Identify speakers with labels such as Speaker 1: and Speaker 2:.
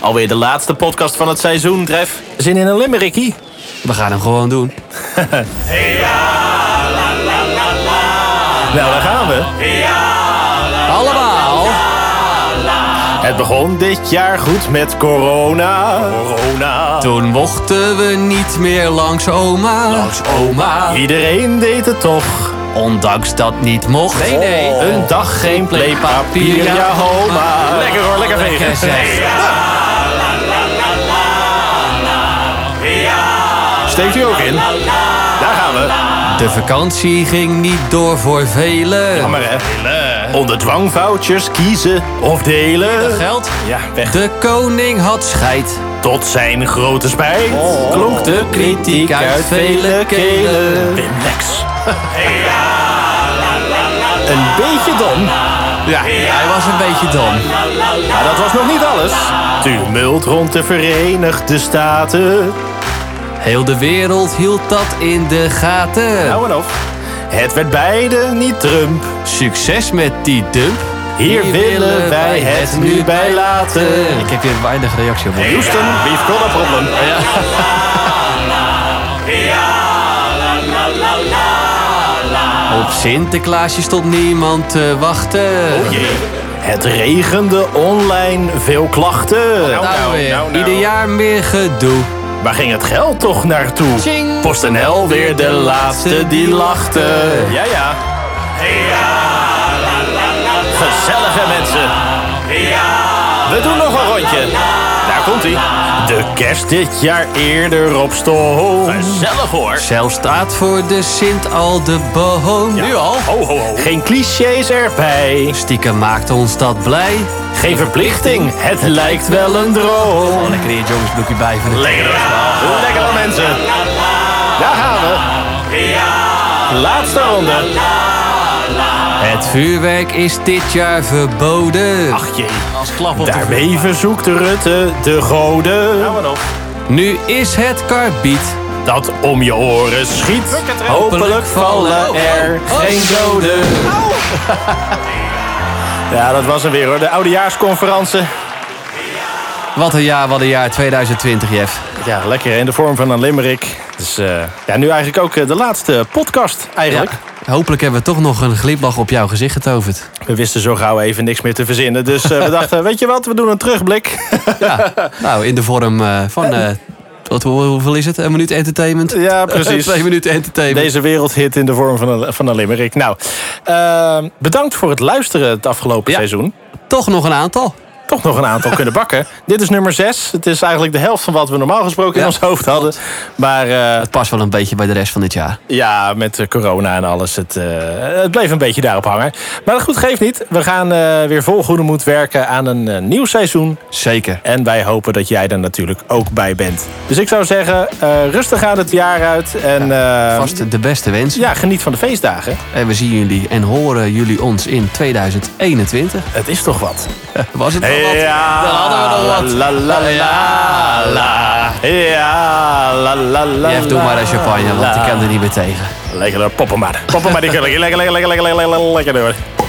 Speaker 1: Alweer de laatste podcast van het seizoen, Tref. Zin in een limmerickie?
Speaker 2: We gaan hem gewoon doen.
Speaker 1: Nou, daar gaan we.
Speaker 2: Allemaal.
Speaker 1: Het begon dit jaar goed met corona. Corona.
Speaker 2: Toen mochten we niet meer langs oma. Langs oma.
Speaker 1: Iedereen deed het toch. Oh.
Speaker 2: Ondanks dat niet mocht. Oh. Nee,
Speaker 1: Een dag geen playpapier, ja homa. Lekker hoor, lekker vegen. Steekt u ook in? Daar gaan we.
Speaker 2: De vakantie ging niet door voor velen.
Speaker 1: Maar hè. Onder dwang vouchers kiezen of delen.
Speaker 2: Geld.
Speaker 1: Ja, weg.
Speaker 2: De koning had scheid.
Speaker 1: Tot zijn grote spijt klonk de
Speaker 2: kritiek uit vele kelen.
Speaker 1: Wim Lex. Een beetje dom,
Speaker 2: Ja, hij was een beetje dom.
Speaker 1: maar dat was nog niet alles. Tumult rond de Verenigde Staten.
Speaker 2: Heel de wereld hield dat in de gaten.
Speaker 1: Nou en of. Het werd beide niet Trump.
Speaker 2: Succes met die dump.
Speaker 1: Hier willen wij het nu bij laten.
Speaker 2: Ik heb weer weinig reactie op.
Speaker 1: Houston, we've got a problem.
Speaker 2: Op Sinterklaasje stond niemand te wachten.
Speaker 1: Oh, Het regende online veel klachten.
Speaker 2: nou, weer. Ieder jaar meer gedoe.
Speaker 1: Waar ging het geld toch naartoe?
Speaker 2: Tjing.
Speaker 1: PostNL weer de laatste die lachte. Ja, ja. Gezellige mensen. We doen nog een rondje. Daar komt ie. De kerst dit jaar eerder op stoom. Gezellig hoor.
Speaker 2: Zelf staat voor de Sint al de boom. Nu al?
Speaker 1: Ho, ho, ho. Geen clichés erbij.
Speaker 2: Stiekem maakt ons dat blij.
Speaker 1: Geen verplichting. Het lijkt wel een droom.
Speaker 2: Lekker in het jongensboekje bij van de
Speaker 1: Oh. Lekker hoor. Lekker hoor, mensen. Daar gaan we. Laatste ronde.
Speaker 2: Het vuurwerk is dit jaar verboden.
Speaker 1: Ach jee.
Speaker 2: als klap op
Speaker 1: Daarmee verzoekt Rutte de goden
Speaker 2: Nu is het karbiet.
Speaker 1: dat om je oren schiet. Hopelijk vallen er geen doden. Ja, dat was er weer hoor. De oudejaarsconferentie.
Speaker 2: Wat een jaar, wat een jaar 2020, Jeff.
Speaker 1: Ja, lekker in de vorm van een limerick. Dus eh, ja, nu eigenlijk ook eh, de laatste podcast eigenlijk.
Speaker 2: Hopelijk hebben we toch nog een glimlach op jouw gezicht getoverd.
Speaker 1: We wisten zo gauw even niks meer te verzinnen. Dus eh, we dachten, weet je wat, we doen een terugblik.
Speaker 2: Ja, nou, in de vorm eh, van... eh, wat, hoe- hoeveel is het? Een minuut entertainment?
Speaker 1: Ja, precies.
Speaker 2: Twee minuten entertainment.
Speaker 1: Deze wereldhit in de vorm van een, van een limerick. Nou, eh, bedankt voor het luisteren het afgelopen
Speaker 2: Ja.
Speaker 1: seizoen.
Speaker 2: Toch nog een aantal.
Speaker 1: toch nog een aantal kunnen bakken. Dit is nummer 6. Het is eigenlijk de helft van wat we normaal gesproken in
Speaker 2: Ja,
Speaker 1: ons hoofd hadden. Maar eh,
Speaker 2: Het past wel een beetje bij de rest van dit jaar.
Speaker 1: ja, met eh, corona en alles. Het, eh, het bleef een beetje daarop hangen. Maar goed, geeft niet. We gaan eh, weer vol goede moed werken aan een eh, nieuw seizoen.
Speaker 2: Zeker.
Speaker 1: En wij hopen dat jij er natuurlijk ook bij bent. Dus ik zou zeggen, eh, rustig aan het jaar uit. En ja,
Speaker 2: Vast de beste wens.
Speaker 1: ja, geniet van de feestdagen.
Speaker 2: En we zien jullie en horen jullie ons in 2021.
Speaker 1: Het is toch wat.
Speaker 2: Was het wel wat?
Speaker 1: Ja,
Speaker 2: Dan hadden we nog wat.
Speaker 1: La la la la. la. Ja, la la la.
Speaker 2: Jeff, doe maar een champagne, want ik
Speaker 1: la.
Speaker 2: kan er niet meer tegen.
Speaker 1: Lekker door, poppen maar. Poppen maar die gullig. Lekker, lekker, lekker, lekker, lekker, lekker, lekker door.